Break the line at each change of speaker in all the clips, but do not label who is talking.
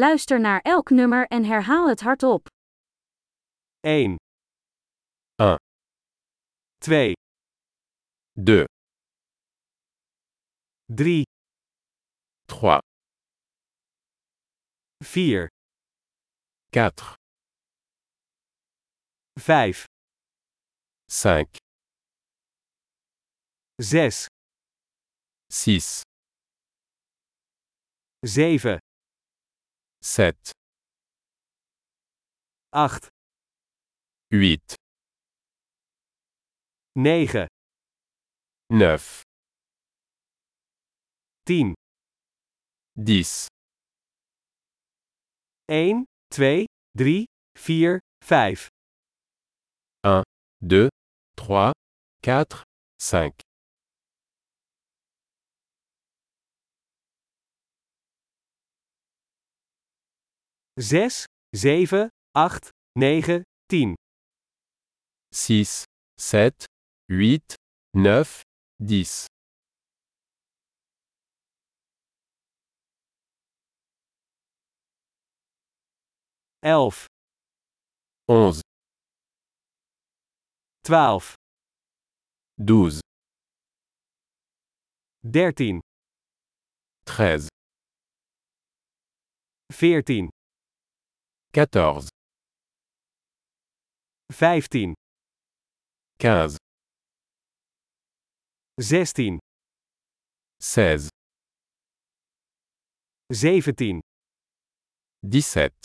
Luister naar elk nummer en herhaal het hardop.
1,
1,
2,
2, 3,
3,
4,
4,
5,
5, 6,
6,
7,
7, 8,
8, 9,
9,
10,
10,
1, 2, 3, 4, 5,
2, 3, 4, 5,
6, 7, 8, 9, 10,
6, 7, 8, 9, 10,
11,
11,
12,
12,
13,
13,
14,
14,
15,
15,
16,
16,
17,
17,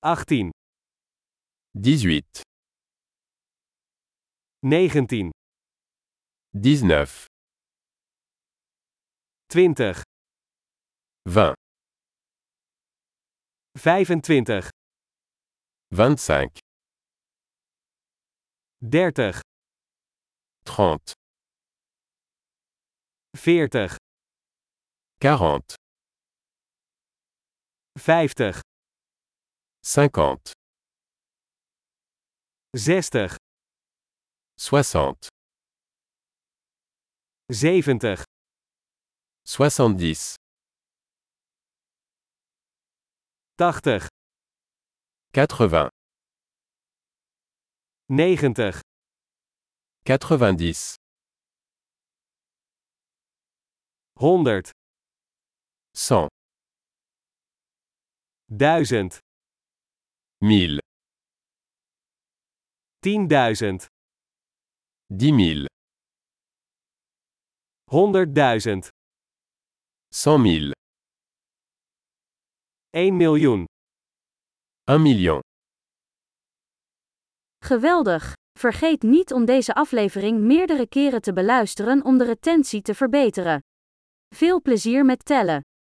18,
18,
19,
19,
20,
20,
25,
25,
30,
30,
40,
40,
50,
50,
60,
60,
70,
70,
80,
80,
90,
90,
100,
100,
1000,
1000,
10.000,
10 000,
100.000,
100 000,
1 miljoen.
1 million.
Geweldig! Vergeet niet om deze aflevering meerdere keren te beluisteren om de retentie te verbeteren. Veel plezier met tellen!